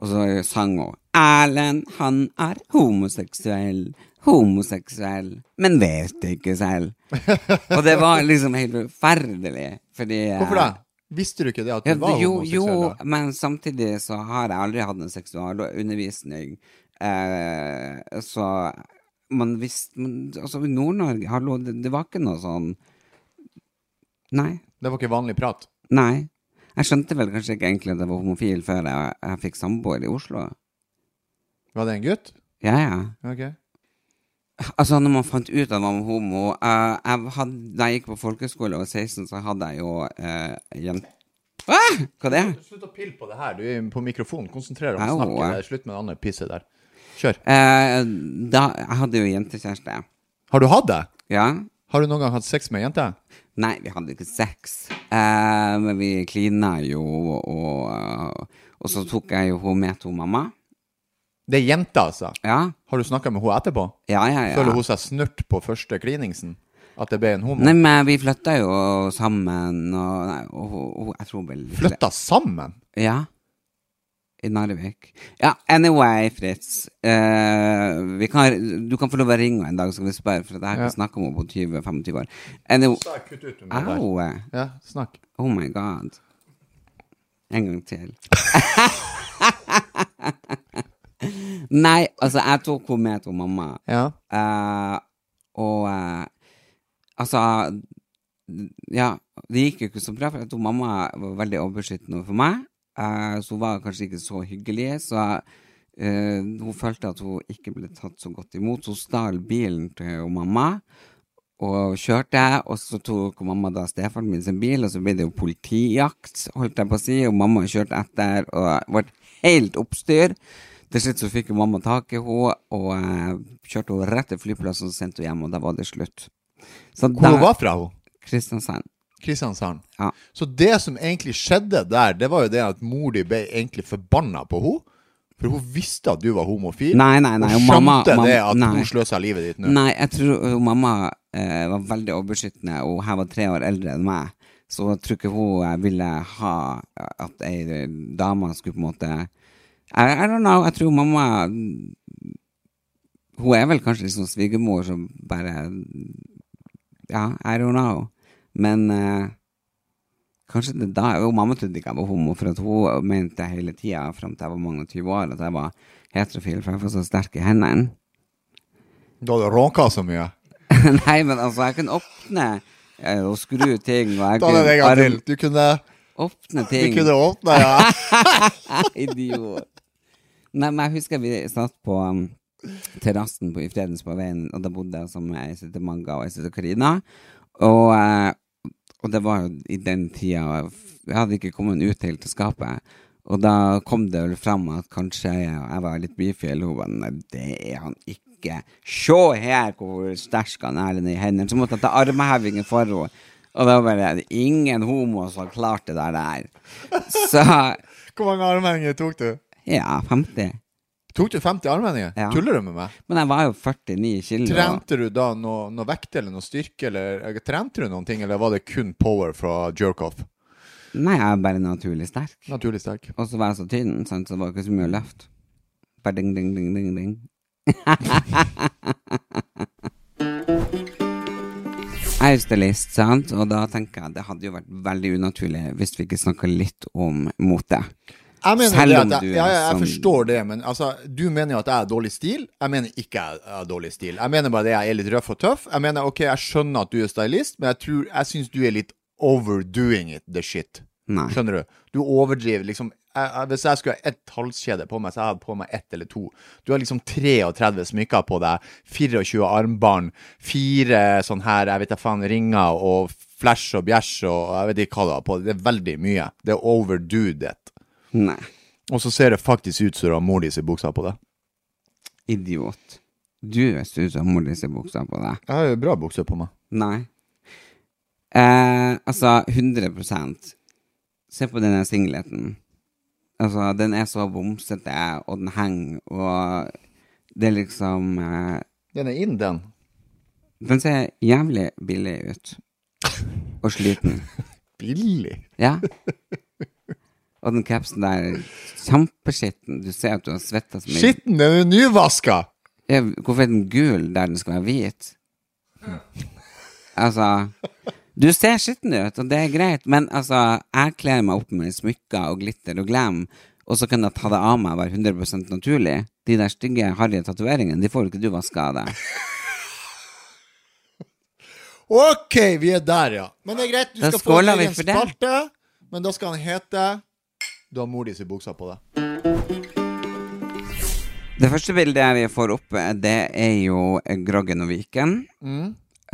og så sang hun Erlend, han er homoseksuell, homoseksuell, men vet det ikke selv. og det var liksom helt forferdelig, fordi eh,
Hvorfor det? Visste du ikke det at du
ja,
var
jo,
homoseksuell?
jo,
da?
men samtidig så har jeg aldri hatt en seksualundervisning. Eh, så man visste men, Altså, i Nord-Norge, hallo, det, det var ikke noe sånn Nei.
Det var ikke vanlig prat.
Nei. Jeg skjønte vel kanskje ikke egentlig at jeg var homofil før jeg, jeg fikk samboer i Oslo.
Var det en gutt?
Ja, ja.
Ok.
Altså, når man fant ut at man var homo eh, jeg hadde, Da jeg gikk på folkeskole og var 16, så hadde jeg jo eh, jent... Ah, hva det er?
Slutt å pille på det her. Du er på mikrofonen. Konsentrer deg om
Au.
snakket. Slutt med det andre pisset der. Kjør.
Eh, da, jeg hadde jo jentekjæreste.
Har du hatt det?
Ja.
Har du noen gang hatt sex med ei jente?
Nei, vi hadde ikke sex. Eh, men vi klina jo, og, og, og så tok jeg jo henne med til hun mamma.
Det er jenta, altså.
Ja,
Har du snakka med henne etterpå?
ja, ja. ja.
Føler hun seg snurt på første kliningsen? At det ble en homo?
Nei, men vi flytta jo sammen, og, nei, og, hun- hun- jeg tror hun ble litt
Flytta sammen?
Ja. I Narvik. Ja, anyway, Fritz. Eh, vi kan, du kan få lov å ringe henne en dag, så skal vi spørre, for det her kan
Ja.
vi snakke om henne på 20-25 år. Anyway,
Kutt ut med det der.
au!
Ja, snakk.
Oh my god. En gang til. Nei, altså, jeg tok henne med til mamma.
Ja.
Eh, og eh, altså Ja, det gikk jo ikke så bra, for jeg tror mamma var veldig overbeskyttende overfor meg. Eh, så hun var kanskje ikke så hyggelig, så eh, hun følte at hun ikke ble tatt så godt imot. Hun stal bilen til hun mamma og kjørte, og så tok mamma da stefaren min sin bil, og så ble det jo politijakt, holdt jeg på å si, og mamma kjørte etter, og det ble helt oppstyr. Til slutt så fikk jo mamma tak i henne, og eh, kjørte henne rett til flyplassen og sendte henne hjem, og da var det slutt. Så
Hvor hun
da-
var fra hun?
Kristiansand.
Kristiansand.
Ja.
Så det som egentlig skjedde der, det var jo det at mor di ble egentlig forbanna på henne. For hun visste at du var homofil.
Nei, nei, nei,
Hun
og mamma-
skjønte
mamma-
det at
nei.
hun sløsa livet ditt nå.
Nei, jeg tror hun mamma eh, var veldig overbeskyttende, og hun her var tre år eldre enn meg. Så jeg tror ikke hun eh, ville ha eh, at ei dame skulle på en måte I, I don't know. Jeg tror mamma Hun er vel kanskje liksom svigermor som bare Ja, I don't know. Men eh, Kanskje det da jo, Mamma trodde ikke jeg var homo, for at hun mente hele tida fram til jeg var mange og 20 år, at jeg var heterofil, for jeg var så sterk i hendene.
Du hadde råka så mye.
Nei, men altså, jeg kan åpne eh, og skru ting. Og jeg
Ta den en
kan
gang
arm-
til. Du kunne,
åpne
du
ting.
kunne åpna, ja.
Idiot. Nei, men jeg husker vi satt på um, terrassen på, i Fredens på veien, og da bodde jeg sammen med ei som heter Manga og ei som heter Karina. Og, eh, og det var jo i den tida og f- Jeg hadde ikke kommet ut helt til skapet. Og da kom det vel fram at kanskje jeg var litt bifil. Hun bare Nei, det er han ikke. Se her hvor sterk han er i hendene. Så måtte jeg ta armhevingen for henne. Og da bare "Det er Ingen homo som har klart det der der. Så
Hvor mange armhenger tok du?
ja, 50.
Tok du 50 armhenger?
Ja.
Tuller du med meg?
Men jeg var jo 49 kilo.
Trente du da noe, noe vekt eller noe styrke, eller eh, trente du noen ting, eller var det kun power fra jerk-off?
Nei, jeg er bare naturlig sterk.
Naturlig sterk.
Og så var jeg så tynn, sant? så det var ikke så mye å løfte. Bare ding, ding, ding, ding, ding. Jeg er jo stylist, sant? og da tenker jeg det hadde jo vært veldig unaturlig hvis vi ikke snakka litt om mote.
Jeg mener
Selv
det
om
at
du
jeg,
er
ja, ja, jeg
som-
forstår det, men altså, du mener jo at jeg har dårlig stil. Jeg mener ikke jeg har dårlig stil. Jeg mener bare det jeg er litt røff og tøff. Jeg mener, ok, jeg skjønner at du er stylist, men jeg, tror- jeg syns du er litt overdoing it, the shit.
Nei.
Skjønner du? Du overdriver liksom jeg, jeg, Hvis jeg skulle ha ett halskjede på meg, så jeg hadde på meg ett eller to. Du har liksom 33 smykker på deg, 24 armbånd, fire sånn her, jeg vet da faen, ringer og flash og bjæsj og jeg vet ikke hva du har på deg. Det er veldig mye. Det er overdoed it.
Nei.
Og så ser det faktisk ut som du har mor di sin buksa på deg.
Idiot. Du ser ut som mor di ser buksa på deg.
Jeg har jo bra bukse på meg.
Nei. Eh, altså, 100 Se på denne singleten. Altså, den er så bomsete, og den henger, og det er liksom eh,
Den er inn, den.
Den ser jævlig billig ut. Og sliten.
Billig.
Ja. Og den capsen der, kjempeskitten. Du ser at du har svetta som en-
Skitten, den er nyvaska!
Ja, hvorfor er den gul der den skal være hvit? Altså Du ser skitten ut, og det er greit, men altså, jeg kler meg opp med smykker og glitter og glam, og så kan jeg ta det av meg og være 100 naturlig. De der stygge, harry tatoveringene, de får jo ikke du vaska av deg.
OK, vi er der, ja. Men det er greit, du
Da
skal få en
skåler vi
egen
for det.
spalte. Men da skal han hete Du har mor di sin buksa på deg.
Det første bildet vi får opp, det er jo Groggen og Viken.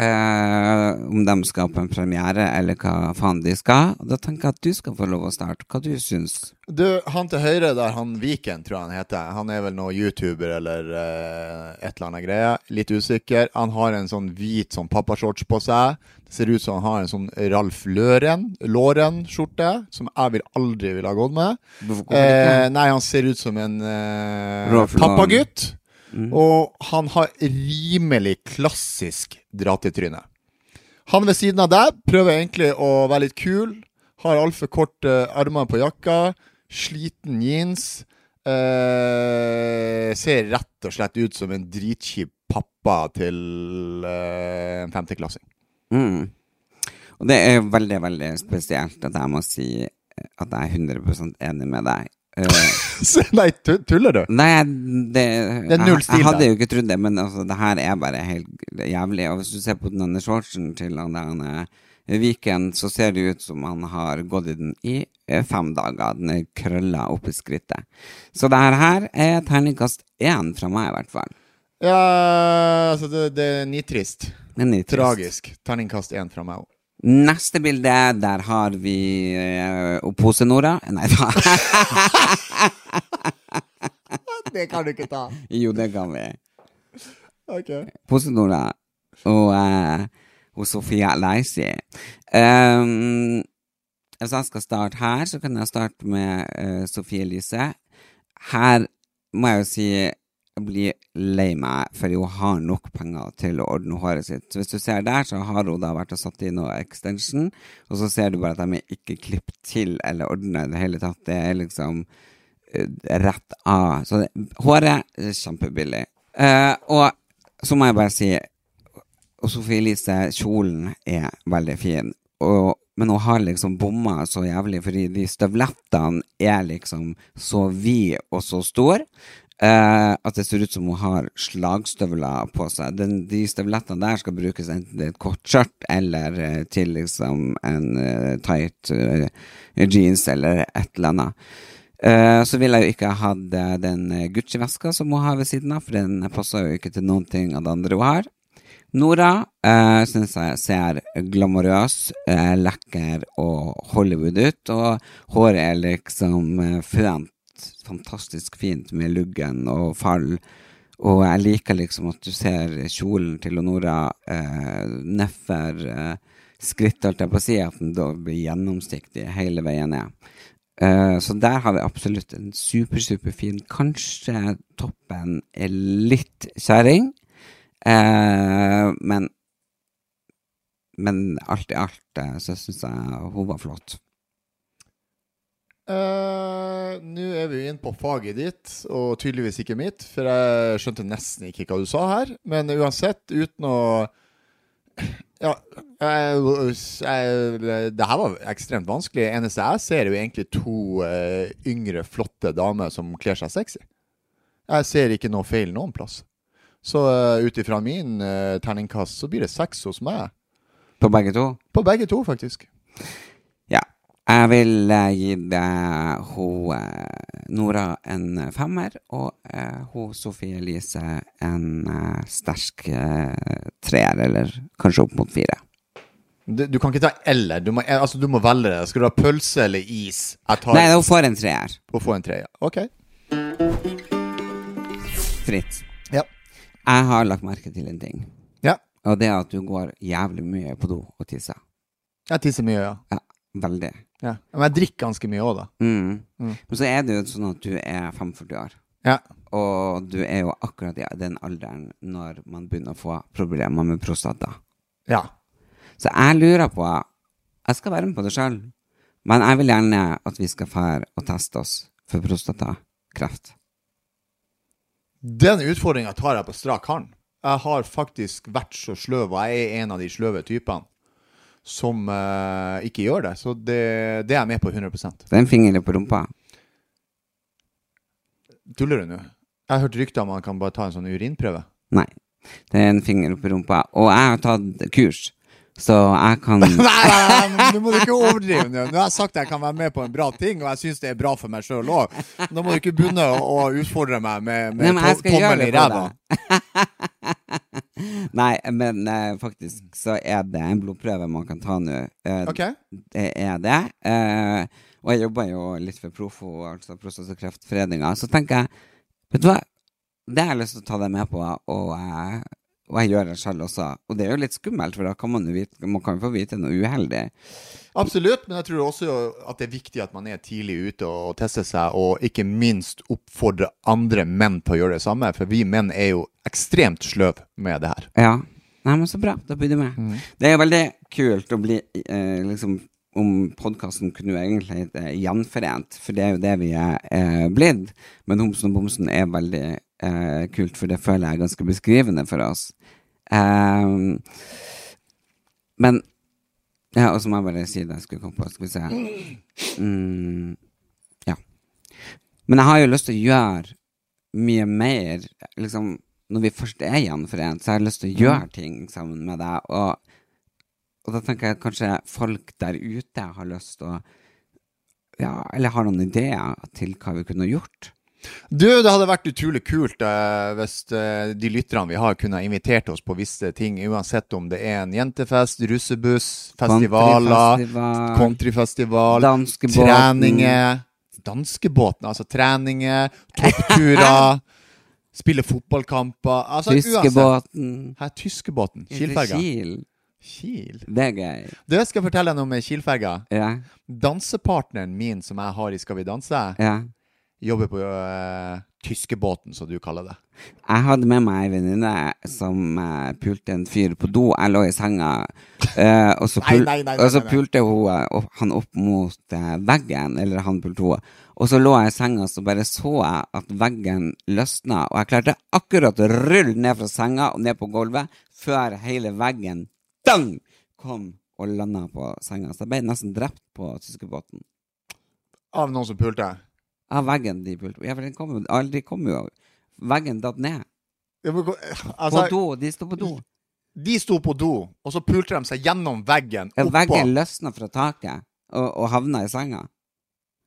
eh, om de skal på en premiere, eller hva faen de skal. Og da tenker jeg at du skal få lov å starte. Hva du syns?
Du, han til høyre der, han Viken, tror jeg han heter. Han er vel noe YouTuber eller eh, et eller annet greie. Litt usikker. Han har en sånn hvit sånn pappashorts på seg. Det ser ut som han har en sånn Ralf Løren, Låren-skjorte, som jeg vil aldri ville ha gått med.
Hvorfor kommer det ikke?
Eh, nei, han ser ut som en eh,
Ralph Lauren.
pappagutt. Og han har rimelig klassisk dra-til-tryne. Han ved siden av deg prøver egentlig å være litt kul. Har altfor korte armer på jakka. Sliten jeans. Eh, ser rett og slett ut som en dritkjip pappa til eh, en femteklassing.
Mm. Og det er veldig, veldig spesielt at jeg må si eh, at jeg er 100 enig med deg. Eh,
Se, Nei, tu- tuller du?
nei, jeg- det,
Det er null
jeg,
stil
jeg hadde
der.
jo ikke trodd det, men altså, det her er bare helt jævlig. Og hvis du ser på den andre shortsen til han der han er Viken, så ser det ut som han har gått i den i eh, fem dager. Den er krølla opp i skrittet. Så det her her er terningkast én fra meg, i hvert fall.
Ja, altså, det, det er nitrist.
Men det er trist.
Tragisk. Terningkast én fra meg òg.
Neste bilde, der har vi eh, Opose-Nora. Nei da.
Det kan du ikke ta.
Jo, det kan vi.
Ok. Eh,
Postenora og, eh, og Sofia Leisi. Um, hvis jeg skal starte her, så kan jeg starte med eh, Sofie Elise. Her må jeg jo si jeg blir lei meg, for hun har nok penger til å ordne håret sitt. Så hvis du ser der, så har hun da vært og satt i noe extension, og så ser du bare at de er ikke klippet til eller ordna i det hele tatt. Det er liksom eh, rett av. Så det, håret er kjempebillig. Eh, og så må jeg bare si Og Sophie Elise, kjolen er veldig fin, og, men hun har liksom bomma så jævlig, fordi de støvlettene er liksom så vide og så store. eh, at det ser ut som hun har slagstøvler på seg. Den, de støvlettene der skal brukes enten til et kort skjørt eller eh, til liksom en eh, tight eh, jeans eller et eller annet. Eh, så ville jeg jo ikke ha hatt eh, den eh, Gucci-veska som hun har ved siden av, for den passer jo ikke til noen ting av det andre hun har. Nora uh, syns jeg ser glamorøs, eh, lekker og Hollywood ut, og håret er liksom uh, fønt, fantastisk fint med luggen og fall. Og jeg liker liksom at du ser kjolen til Nora uh, nedfor eh, skrittet, holdt jeg på å si, at den da blir gjennomsiktig hele veien ned. Eh, Så der har vi absolutt en super, super fin Kanskje toppen er litt kjerring, eh, men Men alt i alt eh, så syns jeg hun var flott.
Eh, Nå er vi jo inne på faget ditt, og tydeligvis ikke mitt, for jeg skjønte nesten ikke hva du sa her. Men uansett, uten å Ja, jeg, jeg, det her var ekstremt vanskelig. Det eneste jeg ser, er jo egentlig to eh, yngre, flotte damer som kler seg sexy. Jeg ser ikke noe feil noen plass. Så uh, ut ifra min eh, terningkast, så blir det seks hos meg.
På begge to.
På begge to, faktisk.
Ja. Jeg vil eh, gi det hun eh, Nora en femmer, og eh, hun Sofie Elise en eh, sterk eh, treer, eller kanskje opp mot fire.
Du, du kan ikke ta eller. Du må, altså, du må velge det. Skal du ha pølse eller is? Jeg tar
Nei, hun får en treer.
og få en treer. OK.
Fritz.
Ja.
Jeg har lagt merke til en ting,
ja.
og det er at du går jævlig mye på do og tisser.
Jeg tisser mye, ja.
Ja, veldig.
ja. Men jeg drikker ganske mye òg, da.
Mm. Men så er det jo sånn at du er 45 år,
Ja.
og du er jo akkurat i den alderen når man begynner å få problemer med prostata.
ja.
Så jeg lurer på Jeg skal være med på det sjøl, men jeg vil gjerne at vi skal fære og teste oss for prostatakreft.
Den utfordringa tar jeg på strak hånd. Jeg har faktisk vært så sløv, og jeg er en av de sløve typene som eh, ikke gjør det. Så det, det er jeg med på 100
Det er en finger på rumpa.
Tuller du nå? Jeg har hørt rykter om man kan bare ta en sånn urinprøve.
Nei. Det er en finger oppi rumpa. Og jeg har tatt kurs, så jeg kan
Nei, nei, nei, nei, nå må du ikke overdrive. Nå Nå har jeg sagt at jeg kan være med på en bra ting, og jeg syns det er bra for meg sjøl òg. Nå må du ikke begynne å å utfordre meg med,
Nei,
med
men jeg
to-
skal gjøre
tommelen
det
i
for
ræva.
deg. Nei, men eh, faktisk så er det en blodprøve man kan ta nå. Eh,
Ok.
Det er det. Eh, og jeg jobber jo litt for Profo, altså Prostat- og kreftforeninga. Så tenker jeg Vet du hva, det har jeg lyst til å ta deg med på, og, eh, og jeg gjør det sjøl også. Og det er jo litt skummelt, for da kan man jo vite, man kan jo få vite noe uheldig.
Absolutt, men jeg tror også jo at det er viktig at man er tidlig ute og tester seg, og ikke minst oppfordre andre menn til å gjøre det samme, for vi menn er jo ekstremt sløv med det her.
Ja. Nei, men så bra. Da blir du med. Det er veldig kult å bli eh, liksom om podkasten kunne jo egentlig hete Gjenforent, for det er jo det vi er eh, blitt. Men Homsen og Bomsen er veldig eh, kult, for det føler jeg er ganske beskrivende for oss. Ehm, men Ja, og så må jeg bare si det jeg skulle komme på. Skal vi se. Mm, ja. Men jeg har jo lyst til å gjøre mye mer, liksom, når vi først er gjenforent, så har jeg lyst til å gjøre ting sammen med deg. Og, og da tenker jeg kanskje folk der ute har lyst til å ja, Eller har noen ideer til hva vi kunne gjort.
Du, det hadde vært utrolig kult eh, hvis eh, de lytterne vi har, kunne ha invitert oss på visse ting, uansett om det er en jentefest, russebuss, festivaler,
Countryfestival,
countryfestival,
Danskebåten.
treninger Danskebåten, altså treninger, toppturer, spille fotballkamper altså, uansett.
Tyskebåten.
Her er tyskebåten. Kielferga.
Kiel.
Kiel.
Det er gøy.
Du, jeg skal fortelle deg noe med Kielferga.
Ja,
Dansepartneren min som jeg har i Skal vi danse,
ja.
jobber på eh, tyskebåten, som du kaller det.
Jeg hadde med meg ei venninne som eh, pulte en fyr på do. Jeg lå i senga, eh, og, så
Nei,
pul
nei, nei, nei,
og så
nei, nei.
pulte hun eh, opp, han opp mot eh, veggen. Eller han pulte henne. Og så lå jeg i senga, så bare så jeg at veggen løsna. Og jeg klarte akkurat å rulle ned fra senga og ned på gulvet før hele veggen dang, kom og landa på senga. Så jeg ble nesten drept på tyskebåten.
Av noen som pulte.
Av veggen de pulte Ja, for den kom, jo- de kom jo Veggen datt ned.
Ja, men hvor-
På
Altså,
do. De sto på do.
de sto på do, og så pulte de seg gjennom veggen
Ja, Veggen
oppå.
løsna fra taket og, og havna i senga.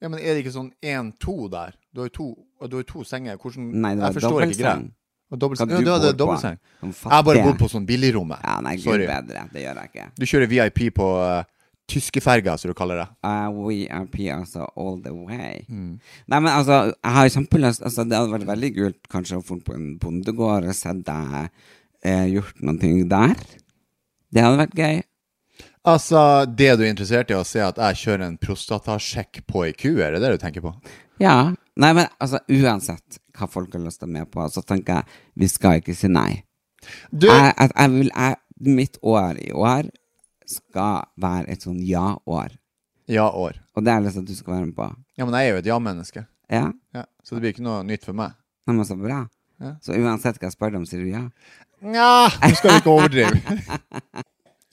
Ja, men er det ikke sånn én-to der? Du har jo to, og du har jo to senger. Hvordan
Nei, det
Jeg
var
forstår ikke greia.
dobbeltseng.
Og Dobbeltseng.
Hva
Ja,
du
du hadde
bor på.
dobbeltseng.
Som
Jeg bare
fattig.
bor på sånn billigrommet.
Ja, nei, gud
Sorry.
bedre. Det gjør jeg ikke.
Du kjører VIP på uh, tyskeferga, som du kaller det.
Uh, we are P, altså, all the way.
Mm.
Nei, men altså, jeg har kjempelyst altså, Det hadde vært veldig kult kanskje å få på en bondegård og sett deg eh, gjort noen ting der. Det hadde vært gøy.
Altså, det du er interessert i å se at jeg kjører en prostatasjekk på ei ku, er det det du tenker på?
Ja. Nei, men altså, uansett hva folk har lyst til å være med på, så tenker jeg vi skal ikke si nei.
Du,
jeg, jeg, jeg vil, jeg, mitt år i år skal være et sånn ja-år.
ja, år.
Og det har jeg lyst til at du skal være med på.
Ja, men jeg er jo et ja-menneske.
Ja?
Ja, så det blir ikke noe nytt for meg.
Nei, men så bra. Så uansett hva jeg spør deg om, sier du ja.
Nja, nå skal vi ikke overdrive.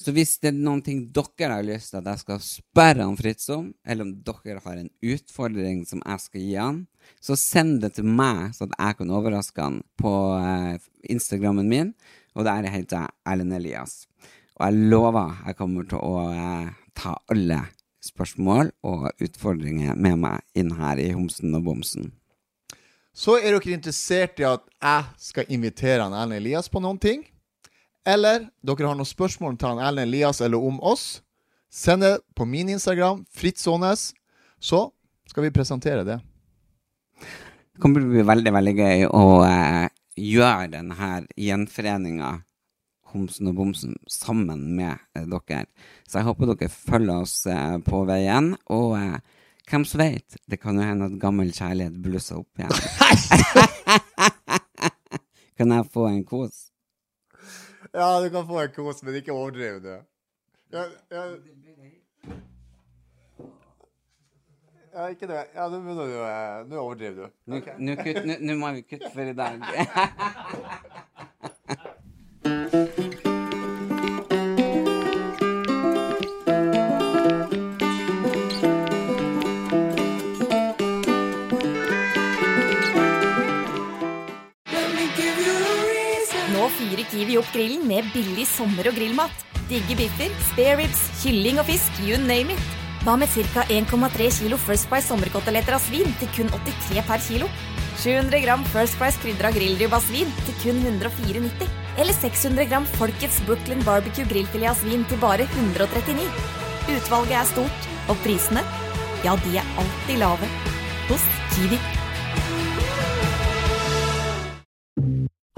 Så hvis det er noen ting dere har lyst til at jeg skal spørre om Fritz om, eller om dere har en utfordring som jeg skal gi han, så send det til meg, så at jeg kan overraske han på eh, Instagrammen min. Og der heter jeg Erlend Elias. Og jeg lover jeg kommer til å eh, ta alle spørsmål og utfordringer med meg inn her i Homsen og Bomsen.
Så er dere interessert i at jeg skal invitere han Erlend Elias på noen ting? Eller dere har noen spørsmål til han Erlend Elias eller om oss? Send det på min Instagram, Fritz Aanes, så skal vi presentere det.
Det kommer til å bli veldig, veldig gøy å eh, gjøre denne gjenforeninga Homsen og Bomsen sammen med eh, dere. Så jeg håper dere følger oss eh, på veien. Og eh, hvem som vet, det kan jo hende at gammel kjærlighet blusser opp igjen. kan jeg få en kos?
Ja, du kan få en kos, men ikke overdriv det. Ja, ja. ja ikke det. Ja, nå begynner du eh, Nå overdriver du.
Nå nå kutt- nå- nå må vi kutte for i dag.
Nå fyrer Kiwi opp grillen med billig sommer- og grillmat. Digge biffer, spare ribs, kylling og fisk, you name it. Hva med ca. 1,3 kilo First Price sommerkoteletter av svin til kun 83 per kilo? 700 gram First Price krydra grillribba svin til kun 104,90.
Eller 600 gram Folkets Brooklyn Barbecue grillfilet av svin til bare 139. Utvalget er stort, og prisene, ja, de er alltid lave. Hos Kiwi.